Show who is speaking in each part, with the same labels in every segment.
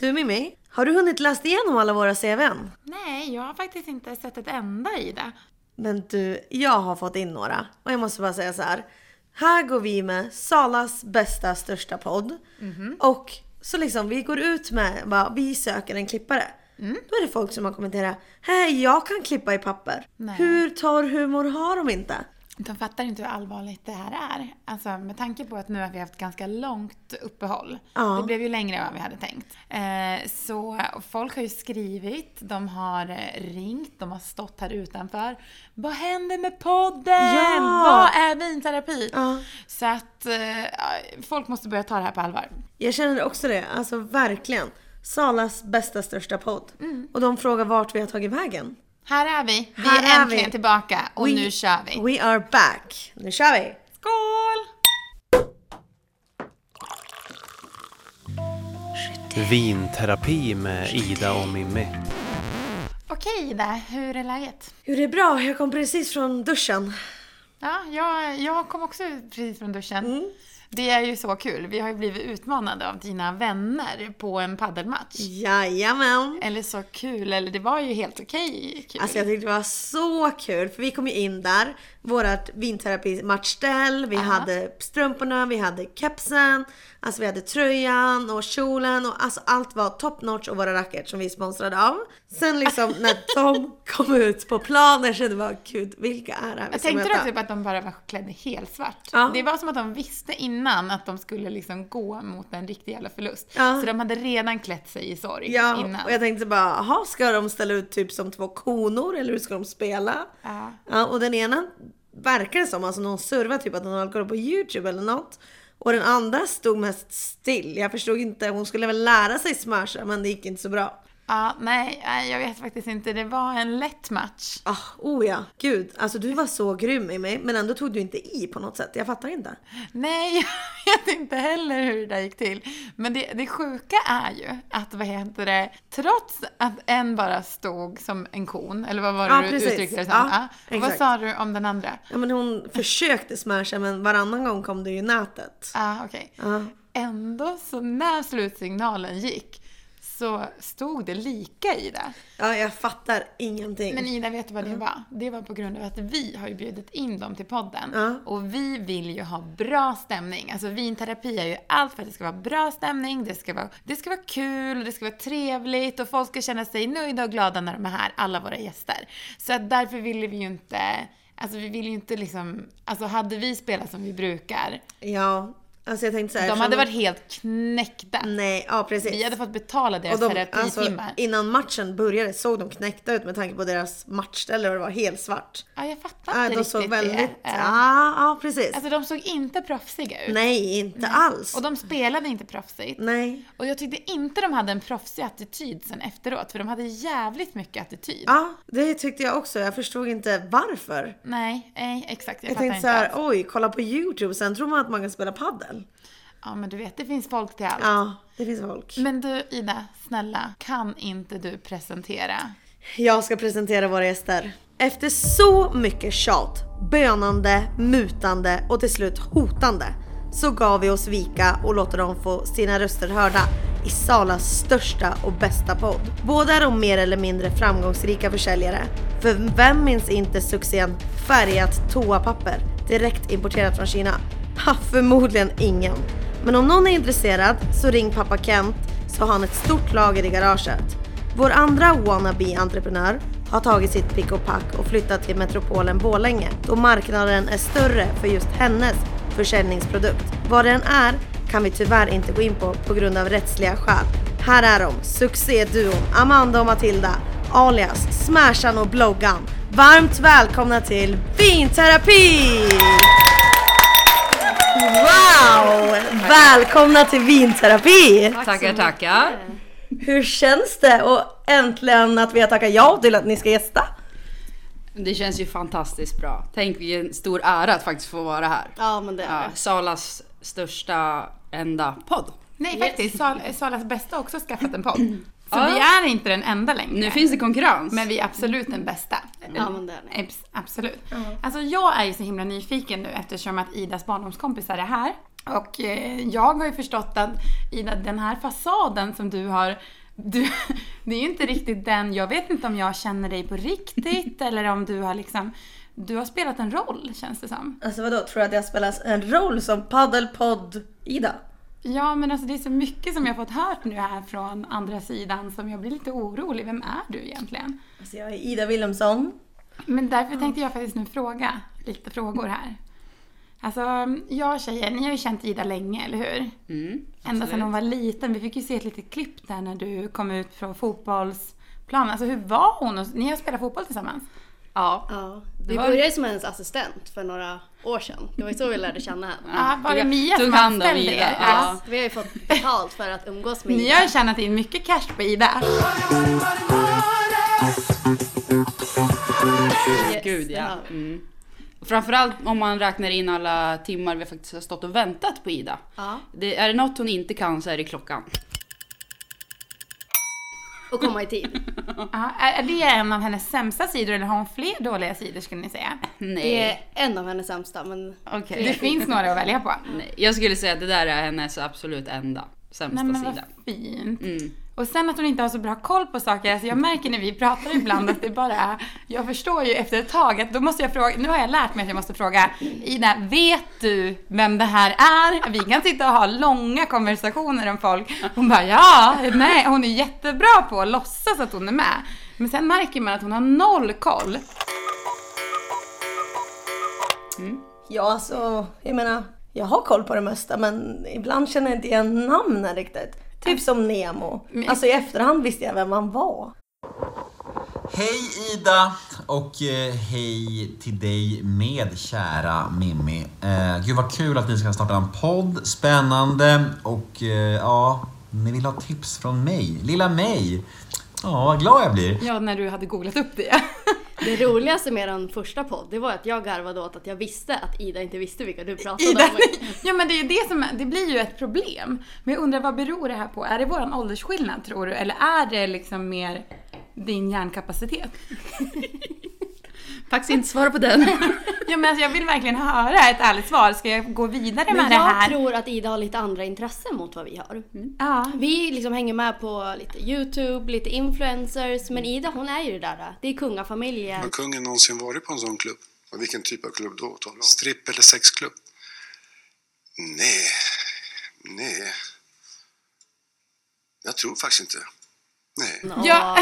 Speaker 1: Du Mimmi, har du hunnit läst igenom alla våra CVn?
Speaker 2: Nej, jag har faktiskt inte sett ett enda i det.
Speaker 1: Men du, jag har fått in några. Och jag måste bara säga så här. Här går vi med Salas bästa största podd. Och så liksom vi går ut med bara, vi söker en klippare. Då är det folk som har kommenterat. Hej, jag kan klippa i papper.
Speaker 2: Nej.
Speaker 1: Hur torr humor har de inte?
Speaker 2: De fattar inte hur allvarligt det här är. Alltså med tanke på att nu har vi haft ganska långt uppehåll.
Speaker 1: Ja.
Speaker 2: Det blev ju längre än vad vi hade tänkt. Eh, så folk har ju skrivit, de har eh, ringt, de har stått här utanför. Vad händer med podden?
Speaker 1: Ja!
Speaker 2: Vad är vinterapi?
Speaker 1: Ja.
Speaker 2: Så att eh, folk måste börja ta det här på allvar.
Speaker 1: Jag känner också det, alltså verkligen. Salas bästa största podd. Och de frågar vart vi har tagit vägen.
Speaker 2: Här är vi. Vi
Speaker 1: Här
Speaker 2: är
Speaker 1: är
Speaker 2: äntligen
Speaker 1: vi.
Speaker 2: tillbaka och nu kör vi.
Speaker 1: We are back. Nu kör vi!
Speaker 2: Skål!
Speaker 3: Vinterapi med Ida och Mimmi.
Speaker 2: Okej Ida, hur är läget?
Speaker 1: Jo det är bra, jag kom precis från duschen.
Speaker 2: Ja, jag, jag kom också precis från duschen.
Speaker 1: Mm.
Speaker 2: Det är ju så kul. Vi har ju blivit utmanade av dina vänner på en paddelmatch.
Speaker 1: Mm. Jajamän!
Speaker 2: Eller så kul, eller det var ju helt okej kul.
Speaker 1: Alltså jag tyckte det var så kul för vi kom ju in där, vårat vinterapimatchställ, vi hade strumporna, vi hade kepsen, alltså vi hade tröjan och kjolen och alltså allt var top notch och våra racket som vi är sponsrade av. Sen liksom när de kom ut på plan, jag kände bara gud vilka är det här vi
Speaker 2: jag
Speaker 1: ska
Speaker 2: tänkte
Speaker 1: möta?
Speaker 2: du typ att de bara var klädda helt svart?
Speaker 1: Ja.
Speaker 2: Det var som att de visste innan att de skulle liksom gå mot en riktig jävla förlust.
Speaker 1: Ja.
Speaker 2: Så de hade redan klätt sig i sorg
Speaker 1: Ja,
Speaker 2: innan.
Speaker 1: och jag tänkte bara, jaha ska de ställa ut typ som två konor eller hur ska de spela?
Speaker 2: Ja.
Speaker 1: Ja, och den ena verkar det som, alltså någon servade typ att hon hade kollat på YouTube eller något. Och den andra stod mest still. Jag förstod inte, hon skulle väl lära sig smasha men det gick inte så bra.
Speaker 2: Ja, nej, nej, jag vet faktiskt inte. Det var en lätt match.
Speaker 1: Ah, oh ja, gud. Alltså du var så grym i mig men ändå tog du inte i på något sätt. Jag fattar inte.
Speaker 2: Nej, jag vet inte heller hur det där gick till. Men det, det sjuka är ju att, vad heter det, trots att en bara stod som en kon, eller vad var det
Speaker 1: Ja,
Speaker 2: du
Speaker 1: precis.
Speaker 2: uttryckte det som?
Speaker 1: Ja,
Speaker 2: Och vad
Speaker 1: exakt.
Speaker 2: sa du om den andra?
Speaker 1: Ja men hon försökte smasha men varannan gång kom det ju i nätet.
Speaker 2: Ja, okej.
Speaker 1: Ja.
Speaker 2: Ändå, så när slutsignalen gick så stod det lika i det.
Speaker 1: Ja, jag fattar ingenting.
Speaker 2: Men Ida, vet du vad det var? Det var på grund av att vi har ju bjudit in dem till podden.
Speaker 1: Ja.
Speaker 2: Och vi vill ju ha bra stämning. Alltså vinterapi är ju allt för att det ska vara bra stämning, det ska vara, det ska vara kul, det ska vara trevligt och folk ska känna sig nöjda och glada när de är här, alla våra gäster. Så att därför ville vi ju inte Alltså vi vill ju inte liksom, alltså hade vi spelat som vi brukar,
Speaker 1: Ja, alltså jag tänkte såhär.
Speaker 2: de hade varit helt knäckta.
Speaker 1: Nej, ja precis.
Speaker 2: Vi hade fått betala deras
Speaker 1: Mm. Och de, alltså,
Speaker 2: terapitimmar.
Speaker 1: innan matchen började såg de knäckta ut med tanke på deras matchställe och det var helt svart.
Speaker 2: ja, jag fattar
Speaker 1: Ja,
Speaker 2: inte
Speaker 1: de
Speaker 2: riktigt
Speaker 1: såg väldigt...
Speaker 2: det. Ja.
Speaker 1: Ja, ja precis.
Speaker 2: Alltså de såg inte proffsiga ut.
Speaker 1: Nej, inte alls.
Speaker 2: Och de spelade inte proffsigt.
Speaker 1: Nej.
Speaker 2: Och jag tyckte inte de hade en proffsig attityd sen efteråt, för de hade jävligt mycket attityd.
Speaker 1: Ja, det tyckte jag också. Jag förstod inte varför.
Speaker 2: Nej, nej, exakt. Jag,
Speaker 1: Jag
Speaker 2: fattar
Speaker 1: tänkte
Speaker 2: inte
Speaker 1: så här,
Speaker 2: alls.
Speaker 1: oj, kolla på YouTube, sen tror man att man kan spela paddel.
Speaker 2: Ja, men du vet, det finns folk till allt.
Speaker 1: Ja, det finns folk.
Speaker 2: Men du, Ida, snälla, kan inte du presentera?
Speaker 1: Jag ska presentera våra gäster. Efter så mycket tjat, bönande, mutande och till slut hotande så gav vi oss vika och låter dem få sina röster hörda i Salas största och bästa podd. Båda är de mer eller mindre framgångsrika försäljare. För vem minns inte succén färgat toapapper direkt importerat från Kina? Ha, förmodligen ingen. Men om någon är intresserad så ring pappa Kent så har han ett stort lager i garaget. Vår andra wannabe-entreprenör har tagit sitt pick och pack och flyttat till metropolen Borlänge då marknaden är större för just hennes försäljningsprodukt. Vad den är kan vi tyvärr inte gå in på på grund av rättsliga skäl. Här är de, succéduon Amanda och Matilda, alias Smashan och Bloggan. Varmt välkomna till Vinterapi! Wow! Välkomna till Vinterapi!
Speaker 4: Tackar, tackar.
Speaker 1: Hur känns det och äntligen att vi har tackat ja till att ni ska gästa?
Speaker 4: Det känns ju fantastiskt bra. Tänk vilken stor ära att faktiskt få vara här.
Speaker 5: Ja men det är
Speaker 4: Ja,
Speaker 5: det.
Speaker 4: Salas största enda podd.
Speaker 2: Nej, faktiskt. Sal- eh, Salas bästa har också skaffat en podd. Så
Speaker 4: Ja.
Speaker 2: vi är inte den enda längre.
Speaker 4: Nu finns det konkurrens.
Speaker 2: Men vi är absolut den bästa.
Speaker 5: Ja, men det är ni.
Speaker 2: Abs- Absolut. Alltså jag är ju så himla nyfiken nu eftersom att Idas barndomskompisar är här. Och eh, jag har ju förstått att Ida, den här fasaden som du har, du, det är ju inte riktigt den, jag vet inte om jag känner dig på riktigt eller om du har liksom, du har spelat en roll känns det som.
Speaker 1: Alltså vadå, tror du att jag spelar en roll som paddelpodd-Ida?
Speaker 2: Ja men alltså det är så mycket som jag fått hört nu här från andra sidan som jag blir lite orolig, vem är du egentligen?
Speaker 1: Alltså jag är Ida Wilhelmsson.
Speaker 2: Men därför tänkte jag faktiskt nu fråga lite frågor här. Alltså, jag och tjejer, ni har ju känt Ida länge, eller hur?
Speaker 4: Mm,
Speaker 2: Ända sedan
Speaker 4: absolut.
Speaker 2: hon var liten. Vi fick ju se ett litet klipp där när du kom ut från fotbollsplanen. Alltså hur var hon? Och- Ni har spelat fotboll tillsammans?
Speaker 4: Ja.
Speaker 5: Ja, vi
Speaker 4: var-
Speaker 5: började ju som hennes assistent för några år sedan. Det var ju så vi lärde känna henne.
Speaker 2: Ja, var det
Speaker 4: Tog-
Speaker 2: Mia som
Speaker 4: tog hand om
Speaker 2: anställde
Speaker 4: Ida,
Speaker 2: er?
Speaker 4: ja.
Speaker 5: Vi har ju fått betalt för att umgås med
Speaker 2: Ni
Speaker 5: Ida.
Speaker 2: har ju tjänat in mycket cash på Ida.
Speaker 5: Yes,
Speaker 4: Gud
Speaker 5: det
Speaker 4: ja.
Speaker 5: har vi.
Speaker 4: Mm. Och Framförallt om man räknar in alla timmar vi faktiskt har stått och väntat på Ida.
Speaker 5: Ja.
Speaker 4: Det, är det något hon inte kan så är det klockan.
Speaker 5: Och komma i
Speaker 4: Eh.
Speaker 5: tid.
Speaker 2: Ja, är är det en av hennes sämsta sidor eller har hon fler dåliga sidor skulle ni säga?
Speaker 5: Det
Speaker 4: Nej.
Speaker 5: är en av hennes sämsta men
Speaker 4: Okej. Mm.
Speaker 2: Det finns några att välja på.
Speaker 4: Nej. Jag skulle säga att det där är hennes absolut enda sämsta
Speaker 2: Nej men vad
Speaker 4: sida.
Speaker 2: fint.
Speaker 4: Mm.
Speaker 2: Och sen att hon inte har så bra koll på saker. Alltså jag märker när vi pratar ibland att det bara är... Jag förstår ju efter ett tag att då måste jag fråga... Nu har jag lärt mig att jag måste fråga Ida, vet du vem det här är? Vi kan sitta och ha långa konversationer om folk. Hon bara ja, nej. Hon är jättebra på att låtsas att hon är med. Men sen märker man att hon har noll koll.
Speaker 1: Ja alltså, jag menar, jag har koll på det mesta men ibland känner jag inte igen namnen riktigt. Typ som Nemo. Alltså i efterhand visste jag vem han var.
Speaker 6: Hej Ida och eh, hej till dig med kära Mimmi. Eh, gud vad kul att ni ska starta en podd. Spännande och eh, ja, ni vill ha tips från mig. Lilla mig. Ja, vad glad jag blir.
Speaker 2: Ja, när du hade googlat upp det.
Speaker 5: det roligaste med den första podd det var att jag garvade åt att jag visste att Ida inte visste vilka du pratade
Speaker 2: Ida,
Speaker 5: om.
Speaker 2: ja men det är ju det som, det blir ju ett problem. Men jag undrar vad beror det här på? Är det våran åldersskillnad tror du? Eller är det liksom mer din hjärnkapacitet?
Speaker 4: Faktiskt inte svara på den.
Speaker 2: Ja men alltså, jag vill verkligen höra ett ärligt svar. Ska jag gå vidare med
Speaker 5: Men
Speaker 2: det
Speaker 5: jag
Speaker 2: här?
Speaker 5: tror att Ida har lite andra intressen mot vad vi har.
Speaker 4: Mm.
Speaker 2: Ja.
Speaker 5: Vi liksom hänger med på lite YouTube, lite influencers, men Ida hon är ju det där. Det är kungafamiljen.
Speaker 7: Har kungen någonsin varit på en sån klubb?
Speaker 8: Och vilken typ av klubb då talar du om?
Speaker 7: Stripp eller sexklubb?
Speaker 8: Nej, nej. Jag tror faktiskt inte. Nej.
Speaker 5: Och,
Speaker 2: Ja.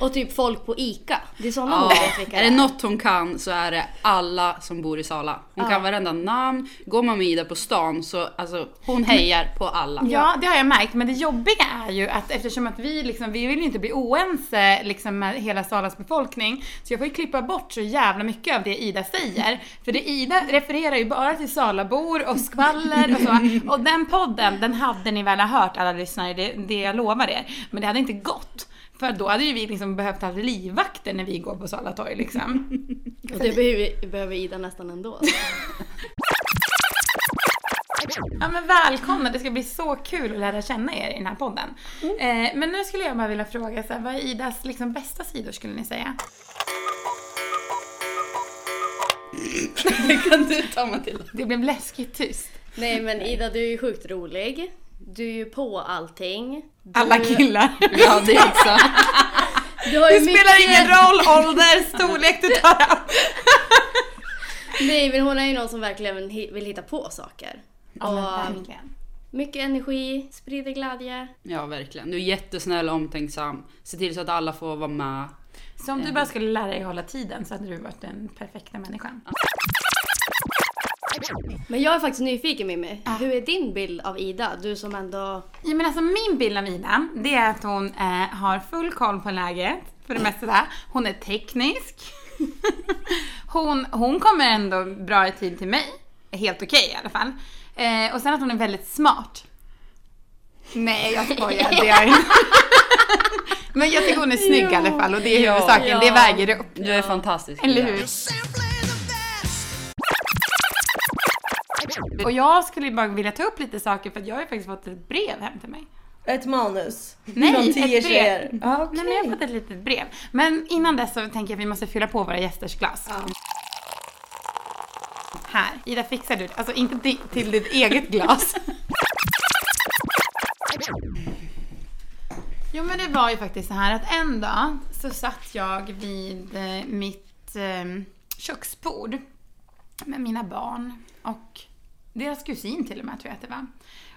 Speaker 5: och typ folk på ICA. Det är såna hon
Speaker 4: Ja.
Speaker 5: vet vilka
Speaker 4: Är det något hon kan så är det alla som bor i Sala. Hon kan varenda namn. Går man med Ida på stan så alltså, hon hejar på alla.
Speaker 2: Ja, det har jag märkt. Men det jobbiga är ju att eftersom att vi liksom, vi vill ju inte bli oense liksom med hela Salas befolkning. Så jag får ju klippa bort så jävla mycket av det Ida säger. För det Ida refererar ju bara till Salabor och skvaller och så. Och den podden, den hade ni väl ha hört alla lyssnare, det, det jag lovar er. Men det hade inte gått. För då hade ju vi liksom behövt ha livvakter när vi går på Sala torg liksom.
Speaker 5: Och det behöver, behöver Ida nästan ändå.
Speaker 2: Ja men välkomna, det ska bli så kul att lära känna er i den här podden. Eh, men nu skulle jag bara vilja fråga, så här, vad är Idas liksom, bästa sidor skulle ni säga?
Speaker 4: Kan du ta Matilda?
Speaker 2: Det blev läskigt tyst.
Speaker 5: Nej men Ida du är ju sjukt rolig. Du är ju på allting.
Speaker 2: Alla killar.
Speaker 4: Ja det är också.
Speaker 5: Du har ju
Speaker 2: Det spelar ingen roll ålder, storlek, du tar allt.
Speaker 5: Nej men hon är ju någon som verkligen hi- vill hitta på saker. och mycket energi, sprider glädje.
Speaker 4: Ja verkligen. Du är jättesnäll och omtänksam. Se till så att alla får vara med.
Speaker 2: Så om du bara skulle lära dig hålla tiden så hade du varit den perfekta människan.
Speaker 5: Men jag är faktiskt nyfiken Mimmi.
Speaker 2: Ah.
Speaker 5: Hur är din bild av Ida? Du som ändå...
Speaker 2: Ja, men alltså, min bild av Ida, det är att hon eh, har full koll på läget för det mesta. Där. Hon är teknisk. hon, hon kommer ändå bra i tid till mig. Helt okej i alla fall. Eh, och sen att hon är väldigt smart. Nej, jag skojar. Det är jag inte. Men jag tycker hon är snygg i alla fall och det är
Speaker 4: Ja.
Speaker 2: huvudsaken. Det
Speaker 5: Ja.
Speaker 2: väger upp.
Speaker 4: Du är fantastisk.
Speaker 2: Eller
Speaker 4: Ida.
Speaker 2: hur? Och jag skulle bara vilja ta upp lite saker för att jag har ju faktiskt fått ett brev hem till mig.
Speaker 1: Ett manus.
Speaker 2: Nej,
Speaker 1: Från
Speaker 2: ett
Speaker 1: tio
Speaker 2: brev.
Speaker 1: tjejer. Ah,
Speaker 2: Nej,
Speaker 1: okej.
Speaker 2: men jag har fått ett litet brev. Men innan dess så tänker jag att vi måste fylla på våra gästers glas. Här. Ida, fixar du det? Alltså inte di- till ditt eget glas. Jo men det var ju faktiskt så här att en dag så satt jag vid eh, mitt eh, köksbord med mina barn och deras kusin till och med tror jag att det var.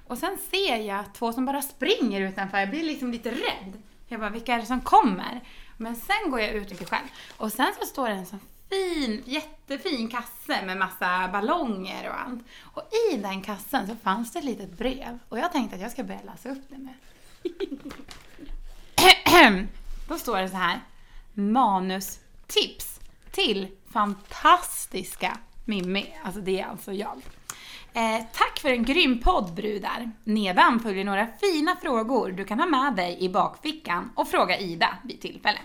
Speaker 2: Och sen ser jag två som bara springer utanför. Jag blir liksom lite rädd. Jag bara, vilka är det som kommer? Men sen går jag ut lite själv. Och sen så står det en sån fin, jättefin kasse med massa ballonger och allt. Och i den kassen så fanns det ett litet brev. Och jag tänkte att jag ska börja läsa upp det nu. Då står det så här. Manustips till fantastiska Mimmi. Alltså det är alltså jag. Eh, tack för en grym podd brudar. Nedan följer några fina frågor du kan ha med dig i bakfickan och fråga Ida vid tillfälle.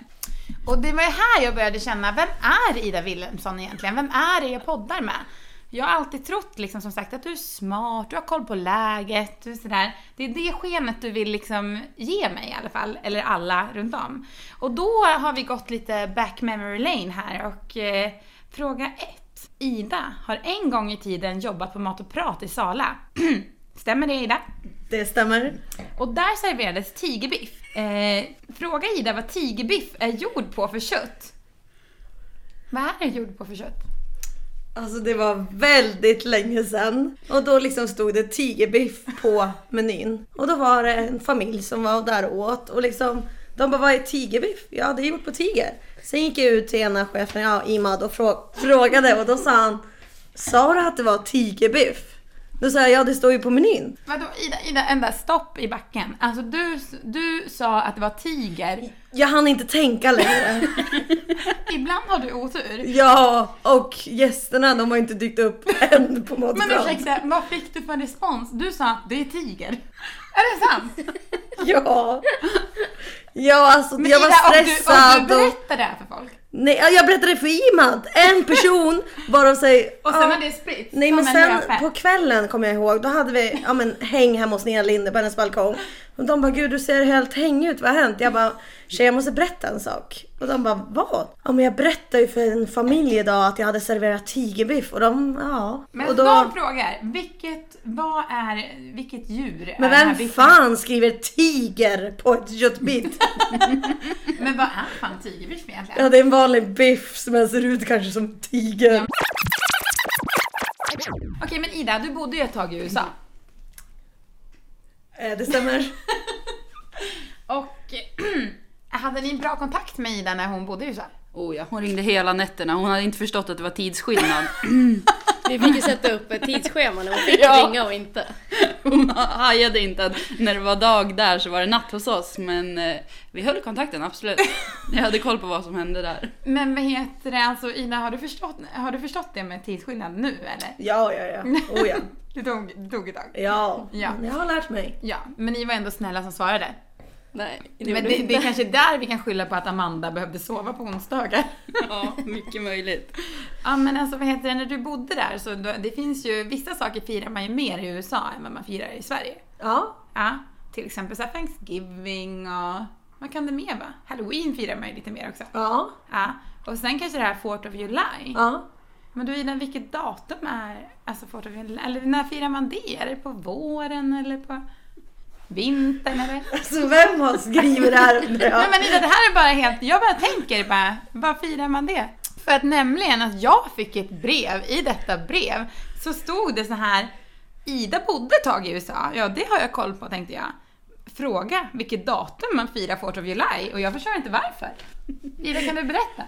Speaker 2: Och det var ju här jag började känna, vem är Ida Wilhelmsson egentligen? Vem är det jag poddar med? Jag har alltid trott liksom som sagt att du är smart, du har koll på läget, du är sådär. Det är det skenet du vill liksom ge mig i alla fall, eller alla runt om. Och då har vi gått lite back memory lane här och eh, fråga ett. Ida har en gång i tiden jobbat på Mat och Prat i Sala. Stämmer det Ida?
Speaker 1: Det stämmer.
Speaker 2: Och där serverades tigerbiff. Eh, fråga Ida vad tigerbiff är gjord på för kött. Vad är det gjord på för kött?
Speaker 1: Alltså det var väldigt länge sedan. Och då liksom stod det tigerbiff på menyn. Och då var det en familj som var där och åt och liksom de bara, vad är tigerbiff? Ja, det är gjort på tiger. Sen gick jag ut till ena chefen, ja, Imad, och frå- frågade och då sa han, sa du att det var tigerbiff? Då sa jag, ja det står ju på menyn.
Speaker 2: Vadå Ida, Ida, en där stopp i backen. Alltså du, du sa att det var tiger.
Speaker 1: Jag hann inte tänka längre.
Speaker 2: Ibland har du otur.
Speaker 1: Ja, och gästerna de har inte dykt upp än på
Speaker 2: Men
Speaker 1: matprat.
Speaker 2: ursäkta, vad fick du för respons? Du sa det är tiger. Är det sant?
Speaker 1: Ja. Ja, alltså
Speaker 2: Men
Speaker 1: jag var
Speaker 2: Ida, om
Speaker 1: stressad.
Speaker 2: du, om du
Speaker 1: och-
Speaker 2: berättar det här för folk
Speaker 1: Nej, ja, jag berättade för Imad. En person varav sig...
Speaker 2: och sen
Speaker 1: ja.
Speaker 2: har det spritts
Speaker 1: Nej
Speaker 2: som
Speaker 1: men
Speaker 2: en
Speaker 1: sen
Speaker 2: löpeld.
Speaker 1: på kvällen kommer jag ihåg, då hade vi ja, men, häng hemma hos Nina Linde på hennes balkong. Och de bara, gud du ser helt hängig ut, vad har hänt? Jag bara, tjej jag måste berätta en sak. Och de bara, vad? Ja men jag berättade ju för en familj idag att jag hade serverat tigerbiff och de, ja.
Speaker 2: Men
Speaker 1: och då,
Speaker 2: de frågar, vilket, vad är, vilket djur
Speaker 1: men
Speaker 2: är den här
Speaker 1: vem
Speaker 2: biffen?
Speaker 1: fan skriver tiger på ett köttbit?
Speaker 2: Men vad är fan tigerbiff egentligen?
Speaker 1: ja det är en vanlig biff som ser ut kanske som tiger.
Speaker 2: Okej men Ida, du bodde ju ett tag i USA.
Speaker 1: Eh, det stämmer.
Speaker 2: Och hade ni bra kontakt med Ida när hon bodde i USA?
Speaker 4: Oh ja, hon ringde hela nätterna. Hon hade inte förstått att det var tidsskillnad.
Speaker 5: Vi fick ju sätta upp ett tidsschema när hon fick
Speaker 4: Ja.
Speaker 5: ringa och inte.
Speaker 4: Hon hajade inte att när det var dag där så var det natt hos oss. Men eh, vi höll kontakten, absolut. Jag hade koll på vad som hände där.
Speaker 2: Men vad heter det, alltså Ida, har du förstått, har du förstått det med tidsskillnad nu eller?
Speaker 1: Ja, ja, ja. Oh, ja.
Speaker 2: Det tog, det tog ett tag.
Speaker 1: Ja,
Speaker 2: Ja.
Speaker 1: men jag har lärt mig.
Speaker 2: Ja, men ni var ändå snälla som svarade.
Speaker 4: Nej,
Speaker 2: men det, det är kanske där vi kan skylla på att Amanda behövde sova på onsdagar.
Speaker 4: Ja, mycket möjligt.
Speaker 2: Ja men alltså vad heter det, när du bodde där så då, det finns ju, vissa saker firar man ju mer i USA än vad man firar i Sverige.
Speaker 1: Ja,
Speaker 2: Ja, till exempel så här Thanksgiving och vad kan det mer vara? Halloween firar man ju lite mer också.
Speaker 1: ja,
Speaker 2: Ja, och sen kanske det här Fort of July.
Speaker 1: ja.
Speaker 2: Men du Ida, vilket datum är alltså Fort of July? Eller när firar man det? Är det på våren eller på vintern eller?
Speaker 1: Alltså vem har skrivit det här undrar
Speaker 2: Nej
Speaker 1: jag?
Speaker 2: men Ida, det här är bara helt, jag bara tänker bara, vad firar man det? För att nämligen att jag fick ett brev, i detta brev så stod det så här, Ida bodde ett tag i USA, ja det har jag koll på tänkte jag. Fråga vilket datum man firar Fort of July och jag förstår inte varför. Ida kan du berätta?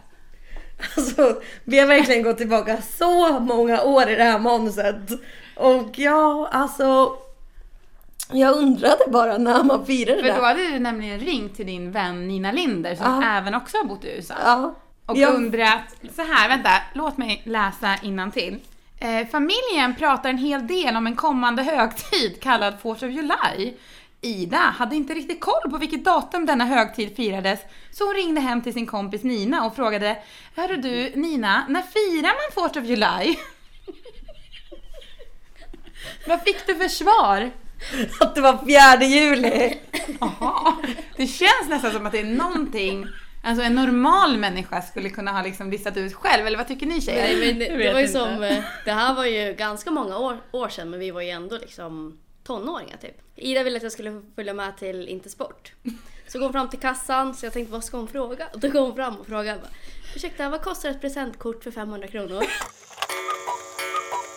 Speaker 1: Alltså, vi har verkligen gått tillbaka så många år i det här manuset. Och ja, alltså. Jag undrade bara när man firade
Speaker 2: För då
Speaker 1: det.
Speaker 2: hade du nämligen ringt till din vän Nina Linder som
Speaker 1: Ja.
Speaker 2: även också har bott i USA.
Speaker 1: Ja.
Speaker 2: Och
Speaker 1: Ja.
Speaker 2: undrat, så här, vänta, låt mig läsa innantill. Eh, familjen pratar en hel del om en kommande högtid kallad Fourth of July. Ida hade inte riktigt koll på vilket datum denna högtid firades, så hon ringde hem till sin kompis Nina och frågade Hörru du Nina, när firar man Fourth of July? Vad fick du för svar?
Speaker 1: Att det var fjärde juli.
Speaker 2: Jaha, det känns nästan som att det är någonting Alltså en normal människa skulle kunna ha liksom listat ut själv, eller vad tycker ni tjejer?
Speaker 5: Nej, men det,
Speaker 2: Jag
Speaker 5: det
Speaker 2: vet
Speaker 5: var ju
Speaker 2: inte.
Speaker 5: som, eh, det här var ju ganska många år, år sedan men vi var ju ändå liksom tonåringar typ. Ida ville att jag skulle följa med till Inte Sport. Så går hon fram till kassan så jag tänkte vad ska hon fråga? Och då går hon fram och frågar bara, ursäkta vad kostar ett presentkort för 500 kronor?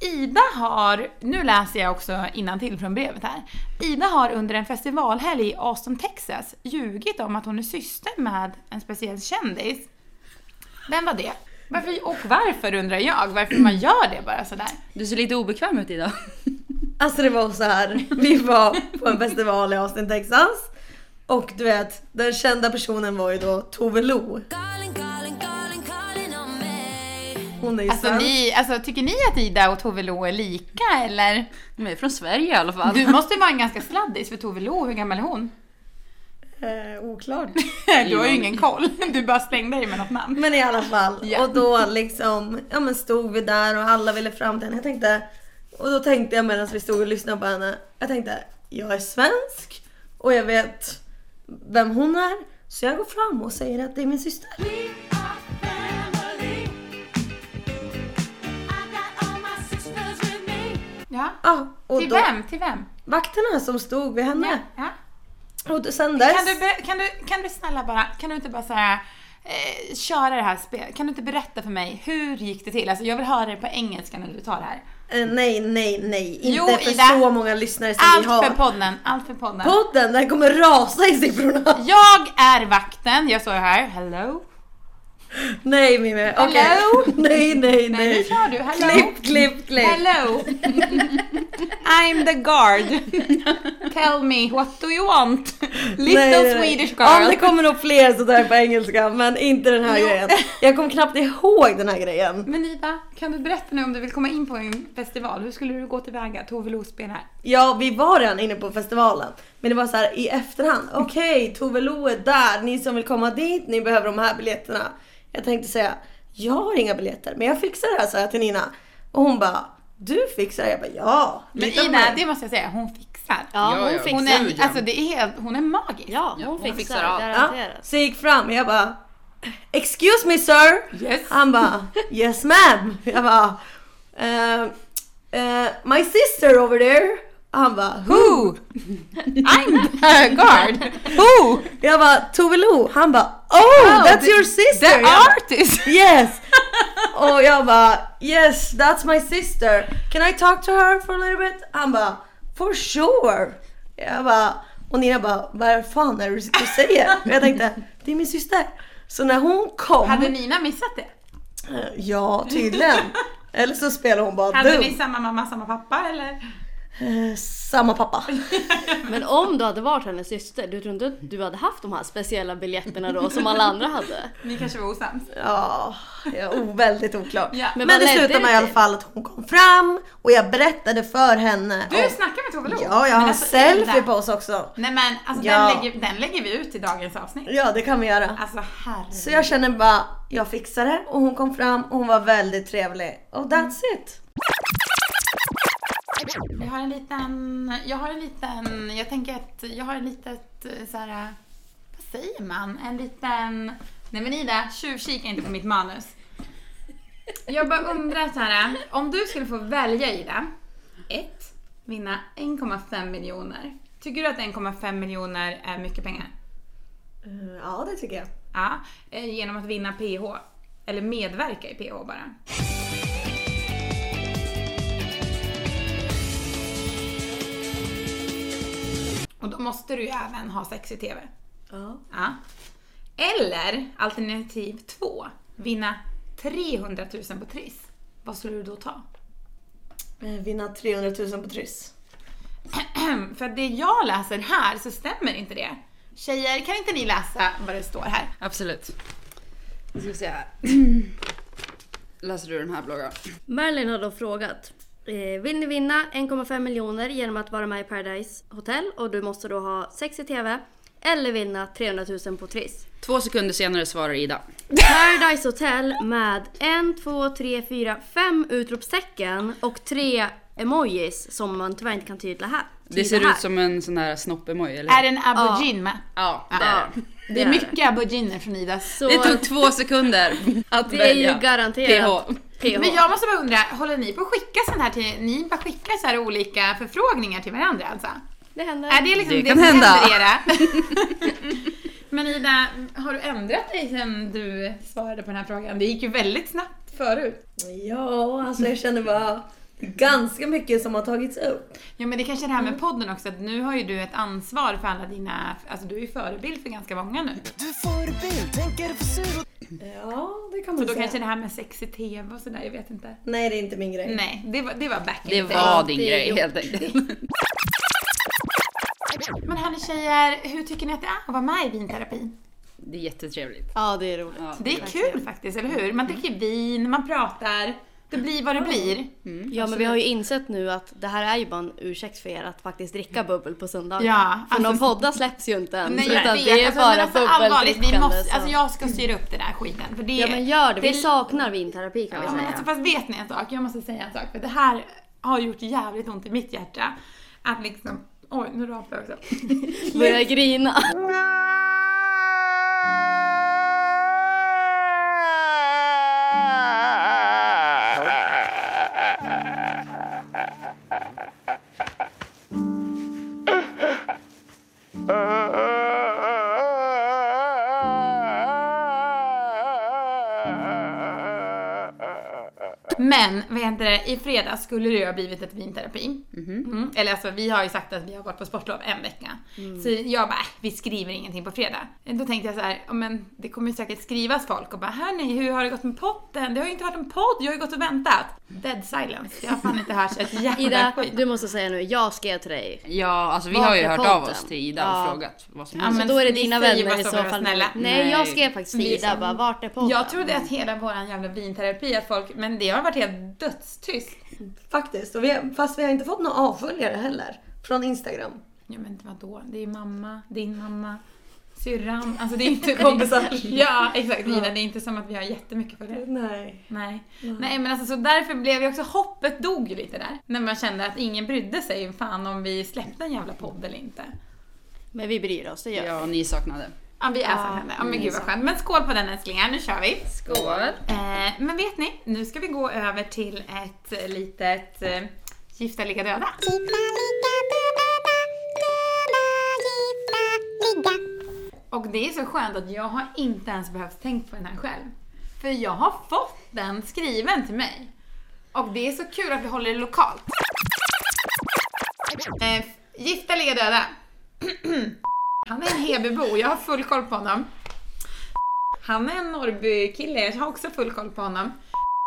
Speaker 2: Ida har, nu läser jag också till från brevet här. Ida har under en festivalhelg i Austin, Texas ljugit om att hon är syster med en speciell kändis. Vem var det? Varför, och varför undrar jag, varför man gör det bara sådär.
Speaker 4: Du ser lite obekväm ut idag.
Speaker 1: Alltså det var så här. vi var på en festival i Austin, Texas. Och du vet, den kända personen var ju då Tove Lo. Hon är ju
Speaker 2: Alltså,
Speaker 1: svensk.
Speaker 2: ni, alltså tycker ni att Ida och Tove Lo är lika eller?
Speaker 4: De är från Sverige i alla fall.
Speaker 2: Du måste ju vara en ganska sladdis för Tove Lo, hur gammal är hon?
Speaker 1: Eh, oklart.
Speaker 2: Du har ju ingen koll, du bara slängde dig med något namn.
Speaker 1: Men i alla fall.
Speaker 2: Ja.
Speaker 1: Och då liksom, ja men stod vi där och alla ville fram till henne. Jag tänkte, och då tänkte jag medan vi stod och lyssnade på henne. Jag tänkte, jag är svensk och jag vet vem hon är. Så jag går fram och säger att det är min syster.
Speaker 2: Mm. Ja.
Speaker 1: Ja, och
Speaker 2: Till
Speaker 1: då,
Speaker 2: vem? Till vem?
Speaker 1: vakterna som stod vid henne.
Speaker 2: Ja.
Speaker 1: Och då- sen dess.
Speaker 2: Kan du, be- kan, du, kan du snälla bara, kan du inte bara såhär, eh, köra det här spelet? Kan du inte berätta för mig, hur gick det till? Alltså jag vill höra det på engelska när du tar det här.
Speaker 1: Eh, nej, nej, nej. Inte
Speaker 2: Jo,
Speaker 1: för
Speaker 2: Ida.
Speaker 1: så många lyssnare som
Speaker 2: Allt
Speaker 1: vi har.
Speaker 2: för podden, allt för podden.
Speaker 1: Podden, den kommer rasa i siffrorna.
Speaker 2: Jag är vakten, jag står ju här, hello.
Speaker 1: Nej Mimmi, okej.
Speaker 2: Hello?
Speaker 1: Nej, nej,
Speaker 2: Nej, nu
Speaker 1: nej.
Speaker 2: kör du, hello.
Speaker 1: Klipp, klipp, klipp.
Speaker 2: Hello. I'm the guard. Tell me, what do you want? Little
Speaker 1: Nej, nej, nej.
Speaker 2: Swedish
Speaker 1: Ja, det
Speaker 2: girl.
Speaker 1: kommer nog fler sådär på engelska, men inte den här grejen. Jag kom knappt ihåg den här grejen.
Speaker 2: Men Ida, kan du berätta nu om du vill komma in på en festival, hur skulle du gå tillväga? Tove Lo spelar.
Speaker 1: Ja, vi var redan inne på festivalen, men det var så här i efterhand.
Speaker 2: Mm.
Speaker 1: Okej, Tove Lo är där. Ni som vill komma dit, ni behöver de här biljetterna. Jag tänkte säga, jag har inga biljetter, men jag fixar det här, sa jag till Nina. Och hon bara, du fixar det? Jag bara, ja.
Speaker 2: Men
Speaker 1: lita på
Speaker 2: Ida,
Speaker 1: mig."
Speaker 2: det måste jag säga, hon fixar.
Speaker 5: Ja,
Speaker 4: Ja,
Speaker 5: hon
Speaker 4: ja.
Speaker 5: fixar.
Speaker 2: Hon är, alltså det är helt, hon är magisk.
Speaker 5: ja,
Speaker 4: hon fixar allt.
Speaker 1: Ja,
Speaker 5: Garanterat.
Speaker 1: så jag gick fram och jag bara Excuse me sir!
Speaker 2: Yes.
Speaker 1: Han bara Yes ma'am! Jag bara "Eh, eh, My sister over there! Han bara Who?
Speaker 2: Who? I'm the guard. Who?
Speaker 1: Jag bara Tove Lo! Han bara Oh that's
Speaker 2: the-
Speaker 1: your sister!
Speaker 2: The
Speaker 1: Jag bara,
Speaker 2: artist.
Speaker 1: Yes! Och jag bara Yes that's my sister! Can I talk to her for a little bit? Han bara For sure! Jag bara Och Nina bara Vad fan är det du sitter och säger? Och jag tänkte Det är min syster! Så när hon kom
Speaker 2: Hade Nina missat det?
Speaker 1: Ja, tydligen. Eller så spelar hon bara
Speaker 2: Hade
Speaker 1: dum.
Speaker 2: ni samma mamma, samma pappa eller?
Speaker 1: Eh, Samma pappa.
Speaker 5: Men om du hade varit hennes syster, du tror inte att du hade haft de här speciella biljetterna då som alla andra hade?
Speaker 2: Ni kanske var osams?
Speaker 1: Ja, ja, o- väldigt oklart.
Speaker 2: Ja.
Speaker 1: Men,
Speaker 5: Men
Speaker 1: det
Speaker 5: vad ledde
Speaker 1: slutade
Speaker 5: det
Speaker 1: med i alla
Speaker 5: till?
Speaker 1: fall att hon kom fram och jag berättade för henne.
Speaker 2: Du
Speaker 1: och,
Speaker 2: snackar med Tove Lo?
Speaker 1: Ja, jag
Speaker 2: Men
Speaker 1: har en
Speaker 2: alltså,
Speaker 1: selfie
Speaker 2: Ida.
Speaker 1: på oss också.
Speaker 2: Nej men alltså
Speaker 1: Ja.
Speaker 2: den, lägger, den lägger vi ut i dagens avsnitt.
Speaker 1: Ja, det kan vi göra.
Speaker 2: Alltså herregud.
Speaker 1: Så jag känner bara, jag fixar det. Och hon kom fram och hon var väldigt trevlig. Och that's it.
Speaker 2: Jag har en liten, jag har en liten, jag tänker att jag har en litet eh, så här, vad säger man? En liten, nej men Ida, tjuvkika inte på mitt manus. Jag bara undrar så här, om du skulle få välja Ida, ett, vinna 1,5 miljoner. Tycker du att 1,5 miljoner är mycket pengar?
Speaker 1: Eh, Ja, det tycker jag.
Speaker 2: Ja, eh, genom att vinna PH. Eller medverka i PH bara. Och då måste du ju även ha sex i TV.
Speaker 1: Ja.
Speaker 2: Ja. Eller alternativ två, vinna 300 000 på Triss. Vad skulle du då ta?
Speaker 1: Eh, Vinna 300 000 på Triss.
Speaker 2: För att det jag läser här så stämmer inte det. Tjejer, kan inte ni läsa vad det står här?
Speaker 4: Absolut. Nu ska vi se här. Läser du den här bloggen?
Speaker 5: Marilyn har då frågat. eh, Vill ni vinna 1,5 miljoner genom att vara med i Paradise Hotel och du måste då ha sex i TV eller vinna 300 000 på Triss?
Speaker 4: Två sekunder senare svarar Ida.
Speaker 5: Paradise Hotel med en, två, tre, fyra, fem utropstecken och tre emojis som man tyvärr inte kan tydla här.
Speaker 4: Det
Speaker 5: tyda
Speaker 4: ser
Speaker 5: här.
Speaker 4: ut som en sån här snopp-emoji eller
Speaker 2: Är det en aubergine med?
Speaker 4: Ja, det är det.
Speaker 2: Det är
Speaker 5: är det.
Speaker 2: mycket auberginer från Idas.
Speaker 5: Så
Speaker 4: Det tog två sekunder att
Speaker 5: det är
Speaker 4: välja.
Speaker 5: ju garanterat
Speaker 4: PH.
Speaker 5: PH.
Speaker 2: Men jag måste bara undra, håller ni på att skicka sån här till, ni bara skickar så här olika förfrågningar till varandra alltså?
Speaker 5: Det händer.
Speaker 2: Är det liksom det,
Speaker 4: Det
Speaker 2: som
Speaker 4: kan hända.
Speaker 2: händer era? Men Ida, har du ändrat dig sen du svarade på den här frågan? Det gick ju väldigt snabbt förut.
Speaker 1: Ja, alltså jag känner bara ganska mycket som har tagits upp.
Speaker 2: Jo men det är kanske är det här med podden också, att nu har ju du ett ansvar för alla dina, alltså du är ju förebild för ganska många nu.
Speaker 1: Ja, det kan man
Speaker 2: Så då
Speaker 1: säga.
Speaker 2: kanske det här med sexig TV och sådär, jag vet inte.
Speaker 1: Nej, det är inte min grej.
Speaker 2: Nej, det var, det var back in
Speaker 4: Det
Speaker 2: the day.
Speaker 4: var din
Speaker 5: det är
Speaker 4: grej
Speaker 5: gjort.
Speaker 4: helt enkelt.
Speaker 2: Men hörni tjejer, hur tycker ni att det är att vara med i vinterapin?
Speaker 4: Det är jättetrevligt.
Speaker 1: Ja, det är roligt.
Speaker 4: Ja.
Speaker 2: Det är kul faktiskt, eller hur? Man dricker vin, man pratar, det blir vad det blir.
Speaker 5: Ja men vi har ju insett nu att det här är ju bara en ursäkt för er att faktiskt dricka bubbel på söndagar.
Speaker 2: Mm. Ja,
Speaker 5: för
Speaker 2: alltså-
Speaker 5: några poddar släpps ju inte ens.
Speaker 2: Nej
Speaker 5: utan
Speaker 2: jag vet,
Speaker 5: det är
Speaker 2: alltså, men
Speaker 5: bara
Speaker 2: alltså, allvarligt, vi
Speaker 5: bubbeldrickande.
Speaker 2: måste,
Speaker 5: så-
Speaker 2: alltså jag ska styra upp den här skiten. För det,
Speaker 5: Ja men gör det, vi
Speaker 2: det-
Speaker 5: saknar vinterapi kan vi
Speaker 2: Ja, men
Speaker 5: säga.
Speaker 2: alltså, fast vet ni en sak? Jag måste säga en sak. För det här har gjort jävligt ont i mitt hjärta. Att liksom... Oj, nu rapar jag också.
Speaker 5: Börja grina.
Speaker 2: Men vad heter det, i fredags skulle det ju ha blivit ett vinterapi.
Speaker 5: Mhm.
Speaker 2: Mm. Eller alltså vi har ju sagt att vi har varit på sportlov en vecka.
Speaker 5: Mm.
Speaker 2: Så jag bara, "Äh, vi skriver ingenting på fredag. Då tänkte jag så här, "Ja, men det kommer ju säkert skrivas folk och bara, hörni hur har det gått med potten? Det har ju inte varit en podd, jag har ju gått och väntat. Dead silence, jag har fan inte hört ett jävla
Speaker 5: Ida,
Speaker 2: skit.
Speaker 5: du måste säga nu, jag skrev till dig.
Speaker 4: Ja, alltså vi
Speaker 5: Var
Speaker 4: har ju
Speaker 5: är
Speaker 4: hört
Speaker 5: podden?
Speaker 4: av oss till Ida
Speaker 5: Ja.
Speaker 4: och frågat vad som
Speaker 2: Ja,
Speaker 4: helst.
Speaker 5: Så
Speaker 2: men
Speaker 5: Alltså, då är det
Speaker 2: ni
Speaker 5: dina
Speaker 2: säger
Speaker 5: vänner
Speaker 2: bara
Speaker 5: i
Speaker 2: så
Speaker 5: så
Speaker 2: för att
Speaker 5: fall.
Speaker 2: snälla.
Speaker 5: Nej jag skrev faktiskt
Speaker 2: Vi
Speaker 5: till
Speaker 2: är så-
Speaker 5: Ida bara, vart är podden?
Speaker 2: Jag trodde att hela våran jävla vinterapi att folk, men det har varit helt dödstyst.
Speaker 1: Faktiskt. Och vi har, fast vi har inte fått några avföljare heller. Från Instagram.
Speaker 2: Ja men vadå, det är ju mamma, din mamma, syrran, alltså det är inte
Speaker 1: Kompisar.
Speaker 2: Ja exakt, Nina, det är inte som att vi har jättemycket följare.
Speaker 1: Nej.
Speaker 2: Nej. Nej men alltså så därför blev ju också, hoppet dog ju lite där. När man kände att ingen brydde sig fan om vi släppte en jävla podd eller inte.
Speaker 5: Men vi bryr oss, det gör vi.
Speaker 4: Ja, ni saknade.
Speaker 2: Ja vi är så henne. Ja men gud vad skönt. Men skål på den älsklingar, nu kör vi.
Speaker 4: Skål.
Speaker 2: Eh, men vet ni, nu ska vi gå över till ett litet eh, Gifta ligga döda. Och det är så skönt att jag har inte ens behövt tänkt på den här själv. För jag har fått den skriven till mig. Och det är så kul att vi håller det lokalt. Eh, gifta ligga döda. Han är en Hebybo, jag har full koll på honom. Han är en Norrbykille, jag har också full koll på honom.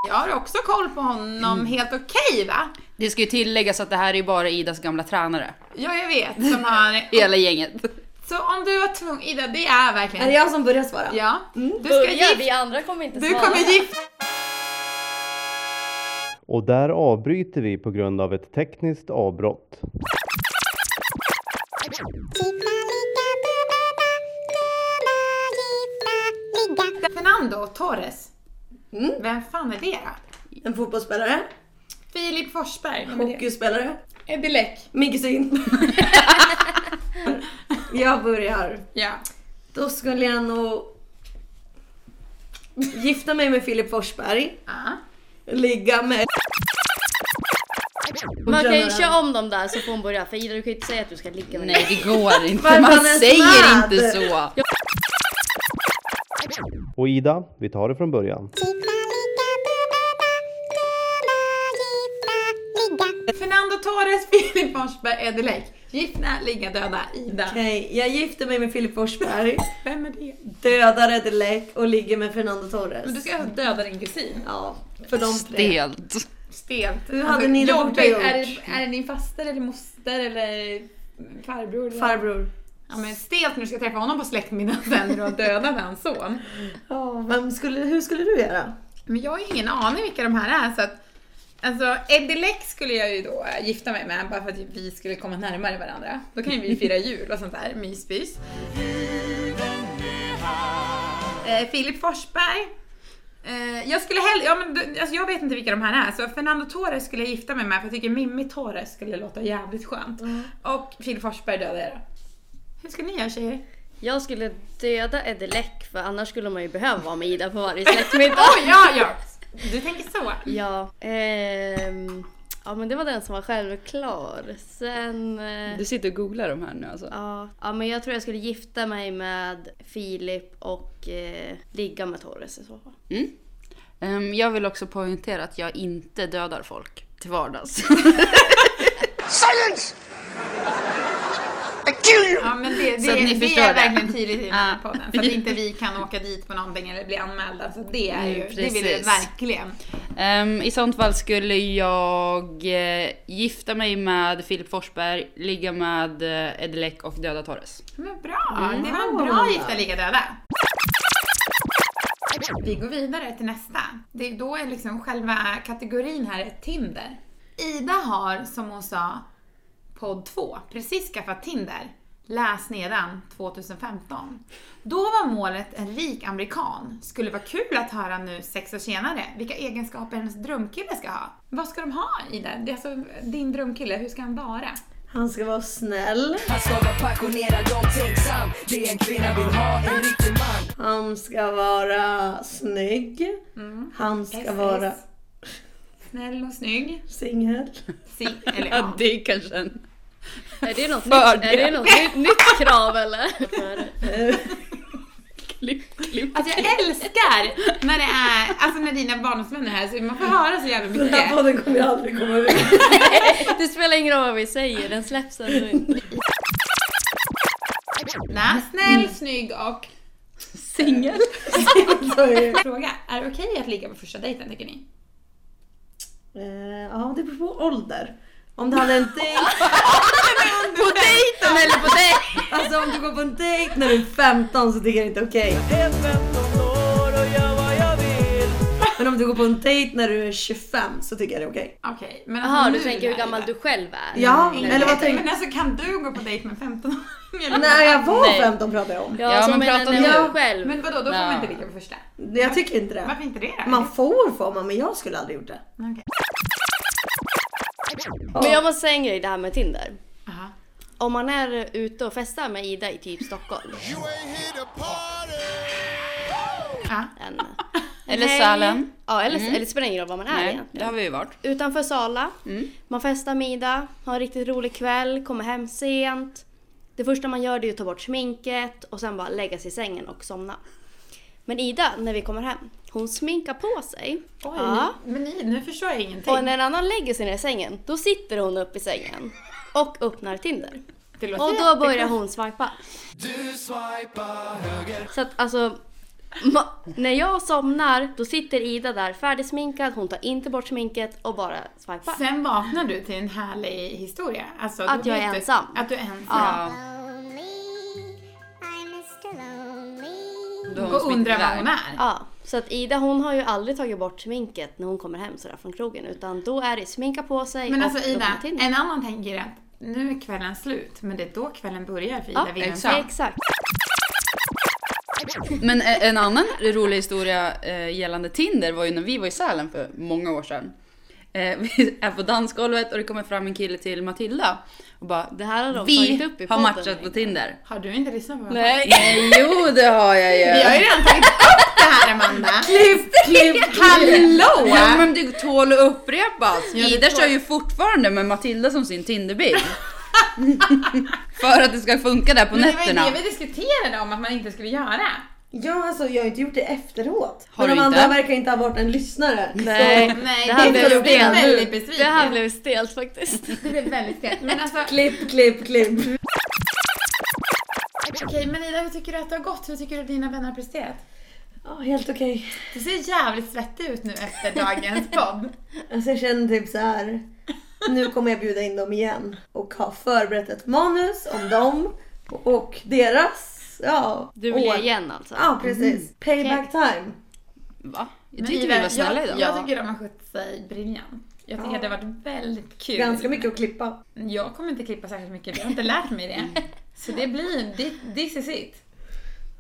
Speaker 2: Jag har också koll på honom helt okej va?
Speaker 4: Det ska ju tilläggas att det här är ju bara Idas gamla tränare.
Speaker 2: Ja, jag vet. Som har...
Speaker 4: Hela gänget.
Speaker 2: Så om du var tvungen, Ida, det är verkligen...
Speaker 1: Är det jag som börjar svara?
Speaker 2: Ja. Du ska
Speaker 5: Börja,
Speaker 2: gifta
Speaker 5: vi andra kommer inte
Speaker 2: Du
Speaker 5: svara.
Speaker 2: kommer gifta
Speaker 3: Och där avbryter vi på grund av ett tekniskt avbrott.
Speaker 2: Fernando Torres. Vem fan är det då?
Speaker 1: En fotbollsspelare,
Speaker 2: Filip Forsberg.
Speaker 1: hockeyspelare,
Speaker 2: Eddie Läck.
Speaker 1: min kusin. jag börjar.
Speaker 2: Ja.
Speaker 1: Då skulle jag nog gifta mig med Filip Forsberg.
Speaker 2: Ja.
Speaker 1: Ligga med...
Speaker 5: Man kan ju köra om dem där så får hon börja. För Ida du kan ju inte säga att du ska ligga med
Speaker 4: Nej, det går inte.
Speaker 1: Varför
Speaker 4: Man
Speaker 1: han är
Speaker 4: säger
Speaker 1: snäll?
Speaker 4: inte så.
Speaker 3: Och Ida, vi tar det från början.
Speaker 2: Fernando Torres, Filip Forsberg, Eddie Läck. Gifta, ligga, döda, Ida.
Speaker 1: Okej, jag gifter mig med Filip Forsberg,
Speaker 2: Vem är det?
Speaker 1: dödar Eddie Läck och ligger med Fernando
Speaker 2: Men du
Speaker 1: Torres.
Speaker 2: ska alltså döda din kusin?
Speaker 1: Ja, för de tre.
Speaker 4: Stelt.
Speaker 2: Stelt. Alltså,
Speaker 1: Hur hade ni det borta gjort?
Speaker 2: Är det, är det din faster eller moster eller farbror? eller-
Speaker 1: Farbror.
Speaker 2: Ja men stelt när du ska träffa honom på släktmiddagen sen när du har dödat hans son.
Speaker 1: Ja, vem skulle, hur skulle du göra?
Speaker 2: Men jag har ju ingen aning vilka de här är så att Alltså Eddie Leck skulle jag ju då eh, gifta mig med bara för att vi skulle komma närmare varandra. Då kan ju vi fira jul och sånt där mysbys. Eh, Filip Forsberg. Eh, jag skulle hellre, ja men du- alltså jag vet inte vilka de här är, så Fernando Torres skulle jag gifta mig med för jag tycker Mimmi Torres skulle låta jävligt skönt. Och Phil Forsberg dödade jag då. Hur ska ni göra tjejer?
Speaker 5: Jag skulle döda Eddie Läck för annars skulle man ju behöva vara med Ida på varje släktmiddag.
Speaker 2: Oj, ja, ja! Du tänker så?
Speaker 5: Ja, ehm, ja men det var den som var självklar. Sen... eh,
Speaker 4: Du sitter och googlar de här nu alltså?
Speaker 5: Ja, ja men jag tror jag skulle gifta mig med Filip och eh, ligga med Torres i så fall.
Speaker 4: Mm. Ehm, jag vill också poängtera att jag inte dödar folk till vardags.
Speaker 2: Ja men det,
Speaker 4: Så att
Speaker 2: det,
Speaker 4: ni
Speaker 2: det,
Speaker 4: förstår
Speaker 2: är
Speaker 4: det.
Speaker 2: verkligen tidigt i den här
Speaker 4: Ja.
Speaker 2: podden. För att inte vi kan åka dit på någonting eller bli anmälda. Så det är
Speaker 4: Mm,
Speaker 2: ju, det vill jag
Speaker 4: precis.
Speaker 2: verkligen.
Speaker 4: Ehm, I sånt fall skulle jag eh, gifta mig med Filip Forsberg, ligga med uh, Edelek och döda Torres.
Speaker 2: Men bra! Det var en bra Gifta lika döda. Vi går vidare till nästa. Det är då är liksom själva kategorin här är Tinder. Ida har, som hon sa, podd 2, precis skaffat Tinder. Läs nedan 2015. Då var målet en rik amerikan. Skulle vara kul att höra nu sex år senare vilka egenskaper hennes drömkille ska ha. Vad ska de ha Ida? Det är alltså din drömkille, hur ska han vara?
Speaker 1: Han ska vara snäll.
Speaker 9: Han ska vara passionerad omtänksam. Det en kvinna vill ha, en riktig man.
Speaker 1: Han ska vara snygg.
Speaker 4: Mm.
Speaker 1: Han ska
Speaker 2: Yes, yes.
Speaker 1: vara
Speaker 2: Snäll och snygg.
Speaker 1: singel.
Speaker 2: Si, eller, ja.
Speaker 4: Ja, det är kanske en...
Speaker 5: Är det något, nytt,
Speaker 4: Fördel.
Speaker 5: är det något nytt, nytt krav eller?
Speaker 4: Klipp, klipp.
Speaker 2: Alltså jag älskar när det är, alltså när dina barndomsvänner är här så man får höra så jävla
Speaker 1: Den här
Speaker 2: mycket.
Speaker 1: podden kommer jag aldrig komma ur.
Speaker 5: Det spelar ingen roll vad vi säger, den släpps ändå inte.
Speaker 2: Nej, snäll, snygg och
Speaker 4: Singel?
Speaker 1: Så är det.
Speaker 2: fråga. Är det okej att ligga på första dejten tycker ni?
Speaker 1: Eh, Ja, det beror på ålder. Om du hade en dejt,
Speaker 4: På dejten eller på dejt?
Speaker 1: alltså om du går på en dejt när du är 15 så tycker jag inte okej.
Speaker 9: Är 15 år och gör vad jag vill.
Speaker 1: Men om du går på en dejt när du är 25 så tycker jag det är okej.
Speaker 2: Okej, men alltså
Speaker 5: Jaha, du
Speaker 2: nu
Speaker 5: tänker hur
Speaker 2: är
Speaker 5: gammal
Speaker 2: det.
Speaker 5: du själv
Speaker 4: Mm,
Speaker 5: är?
Speaker 1: Ja, eller vad tänker
Speaker 2: Men alltså kan du gå på dejt med en 15-åring?
Speaker 1: När jag
Speaker 4: Nej.
Speaker 1: var 15 pratar jag om.
Speaker 5: Ja,
Speaker 4: Ja,
Speaker 5: så
Speaker 4: men
Speaker 5: menar
Speaker 4: prata
Speaker 5: när
Speaker 4: nu.
Speaker 5: jag själv.
Speaker 2: Men vadå, då får
Speaker 4: Ja.
Speaker 2: man inte ligga på första?
Speaker 1: Jag tycker inte det.
Speaker 2: Varför inte det då?
Speaker 1: Man får får man, men jag skulle aldrig gjort det.
Speaker 2: Okej.
Speaker 5: Men jag måste säga en grej det här med Tinder.
Speaker 2: Aha.
Speaker 5: Om man är ute och festar med Ida i typ Stockholm.
Speaker 2: Ja.
Speaker 5: En,
Speaker 4: Eller
Speaker 5: Nej.
Speaker 4: Sälen.
Speaker 5: Ja, eller, eller det spelar ingen roll var man är
Speaker 4: Nej,
Speaker 5: egentligen.
Speaker 4: det har vi Mm. ju varit.
Speaker 5: Utanför Sala. Man festar middag, har en riktigt rolig kväll, kommer hem sent. Det första man gör det är att ta bort sminket och sen bara lägga sig i sängen och somna. Men Ida, när vi kommer hem, hon sminkar på sig.
Speaker 2: Oj,
Speaker 5: Ja.
Speaker 2: men ni, nu förstår jag ingenting.
Speaker 5: Och när en annan lägger sig ner i sängen, då sitter hon upp i sängen och öppnar Tinder.
Speaker 2: Det låter
Speaker 5: Och då
Speaker 2: jättekonstigt.
Speaker 5: börjar hon swipa. Så att alltså, ma- när jag somnar då sitter Ida där färdigsminkad, hon tar inte bort sminket och bara swipar.
Speaker 2: Sen vaknar du till en härlig historia. Alltså,
Speaker 5: Att
Speaker 2: då
Speaker 5: jag är
Speaker 2: vet du-
Speaker 5: ensam.
Speaker 2: Att du är ensam.
Speaker 4: Då har hon
Speaker 2: Och
Speaker 4: smitt
Speaker 2: undrar vad
Speaker 4: iväg.
Speaker 2: hon är.
Speaker 5: Ja, så att Ida hon har ju aldrig tagit bort sminket när hon kommer hem sådär från krogen utan då är det sminka på sig
Speaker 2: Men
Speaker 5: och
Speaker 2: alltså Ida,
Speaker 5: öppna Tinder.
Speaker 2: en annan tänker att nu är kvällen slut, men det är då kvällen börjar för Ida
Speaker 5: Ja,
Speaker 2: Wilhelmsson.
Speaker 5: exakt. exakt.
Speaker 4: Men e- en annan rolig historia eh, gällande Tinder var ju när vi var i Sälen för många år sedan. Eh, Vi är på dansgolvet och det kommer fram en kille till Matilda och bara
Speaker 5: Det här har de
Speaker 4: Vi
Speaker 5: tagit upp i
Speaker 4: har
Speaker 5: podden,
Speaker 4: matchat
Speaker 5: Henrik."
Speaker 4: på Tinder.
Speaker 2: Har du inte lyssnat på vad
Speaker 4: Nej, jo det har jag ju.
Speaker 2: Vi har ju redan tagit upp det här Amanda! Klipp, klipp, hallå!
Speaker 4: Ja men det tål att upprepas.
Speaker 2: det
Speaker 4: Ida
Speaker 2: tål.
Speaker 4: kör ju fortfarande med Matilda som sin Tinderbild. För att det ska funka där på
Speaker 2: Men det var ju
Speaker 4: nätterna.
Speaker 2: det vi diskuterade om att man inte skulle göra.
Speaker 1: Ja, alltså jag har inte gjort det efteråt.
Speaker 4: Har
Speaker 1: men
Speaker 4: du
Speaker 1: de
Speaker 4: inte?
Speaker 1: andra verkar inte ha varit en lyssnare.
Speaker 5: Nej,
Speaker 2: Nej,
Speaker 5: det här
Speaker 2: det
Speaker 5: blev
Speaker 2: blev
Speaker 5: stelt.
Speaker 2: väldigt
Speaker 5: Det
Speaker 2: besviken.
Speaker 5: här blev stelt faktiskt.
Speaker 2: Det blev väldigt stelt. Men alltså,
Speaker 1: Klipp, klipp, klipp.
Speaker 2: okej men Ida hur tycker du att det har gått? Hur tycker du att dina vänner har presterat?
Speaker 1: Ja, helt okej.
Speaker 2: Du ser jävligt svettig ut nu efter dagens podd.
Speaker 1: Alltså jag känner typ så här. Nu kommer jag bjuda in dem igen och ha förberett ett manus om dem och deras. Ja,
Speaker 5: Du vill
Speaker 1: år.
Speaker 5: ge igen alltså?
Speaker 1: Ja, precis. Payback time.
Speaker 4: Va? Jag
Speaker 2: Men
Speaker 4: tyckte
Speaker 2: Ida,
Speaker 4: vi var snälla
Speaker 2: jag,
Speaker 4: idag.
Speaker 2: jag tycker de har skött sig briljant. Jag tycker
Speaker 1: Ja.
Speaker 2: att det har varit väldigt kul.
Speaker 1: Ganska mycket att klippa.
Speaker 2: Mm. Jag kommer inte klippa särskilt mycket, jag har inte lärt mig det. Så det blir, thi- this is it.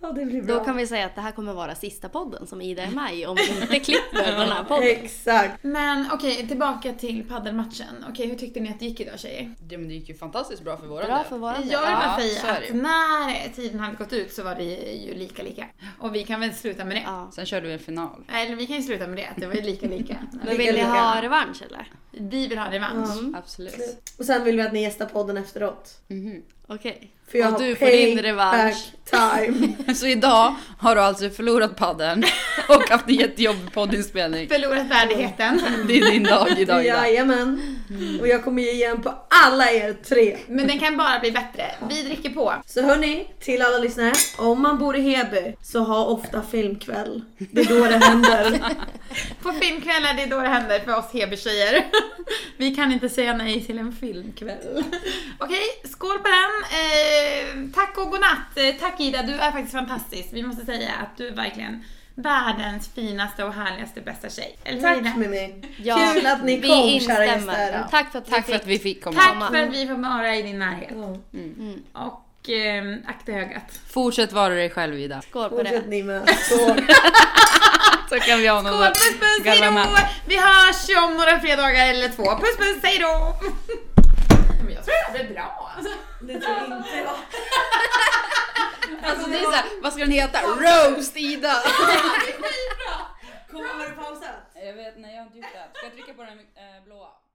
Speaker 1: Ja, det blir
Speaker 5: Då kan vi säga att det här kommer vara sista podden som Ida är med i om vi inte klipper den här podden.
Speaker 1: Exakt.
Speaker 2: Men okej, tillbaka till paddelmatchen. Okej, hur tyckte ni att det gick idag tjejer?
Speaker 4: Ja, men det gick ju fantastiskt bra för våran
Speaker 5: Bra
Speaker 4: del.
Speaker 5: för våran del.
Speaker 2: Jag vill bara säga
Speaker 4: så är det
Speaker 2: att
Speaker 4: ju.
Speaker 2: när tiden hade gått ut så var det ju lika lika. Och vi kan väl sluta med det.
Speaker 5: Ja.
Speaker 4: Sen körde vi en final.
Speaker 2: Eller vi kan ju sluta med det, att det var ju lika lika.
Speaker 5: Men vill ni
Speaker 1: lika.
Speaker 5: ha revansch eller? Mm.
Speaker 2: Vi vill ha revansch.
Speaker 4: Absolut.
Speaker 1: Och sen vill vi att ni gästar podden efteråt.
Speaker 5: Okej.
Speaker 1: För jag
Speaker 4: Och
Speaker 1: har
Speaker 4: du får din
Speaker 1: payback
Speaker 4: revansch.
Speaker 1: time.
Speaker 4: Så idag har du alltså förlorat padden och haft en jättejobbig poddinspelning.
Speaker 2: Förlorat värdigheten.
Speaker 4: Det är din dag idag Ida. Mm.
Speaker 1: Jajamän. Och jag kommer ge igen på alla er tre.
Speaker 2: Men den kan bara bli bättre. Vi dricker på.
Speaker 1: Så hörni, till alla lyssnare. Om man bor i Heby så ha ofta filmkväll. Det är då det händer.
Speaker 2: På filmkvällar, det är då det händer för oss Hebytjejer. Vi kan inte säga nej till en filmkväll. Okej, skål på den. Eh, tack och godnatt. Eh, tack Ida, du är faktiskt fantastisk. Vi måste säga att du är verkligen världens finaste och härligaste bästa tjej. Eller hur, Ida?
Speaker 1: Tack Mimmi. Kul att ni
Speaker 5: vi
Speaker 1: kom kära
Speaker 5: instämmer.
Speaker 1: gäster.
Speaker 5: Tack för att,
Speaker 4: Tack
Speaker 5: vi
Speaker 4: för att
Speaker 5: fick.
Speaker 4: vi fick komma.
Speaker 2: Tack för att vi får vara i din närhet.
Speaker 1: Mm.
Speaker 2: Och eh, akta ögat.
Speaker 4: Fortsätt vara dig själv Ida.
Speaker 5: Skål på det.
Speaker 1: Fortsätt ni med. Så.
Speaker 4: Så kan vi ha någon
Speaker 2: Skål, puss puss,
Speaker 4: garva
Speaker 2: hejdå!
Speaker 4: med.
Speaker 2: Vi hörs ju om några fredagar eller två. Puss puss, hejdå! Men jag tror det här blir bra alltså.
Speaker 1: Det tror inte jag.
Speaker 4: Alltså det är såhär, vad ska den heta? Roast Ida!
Speaker 1: Kommer du pausa?
Speaker 4: Jag vet, nej jag har inte gjort det. Ska jag trycka på den eh, blåa?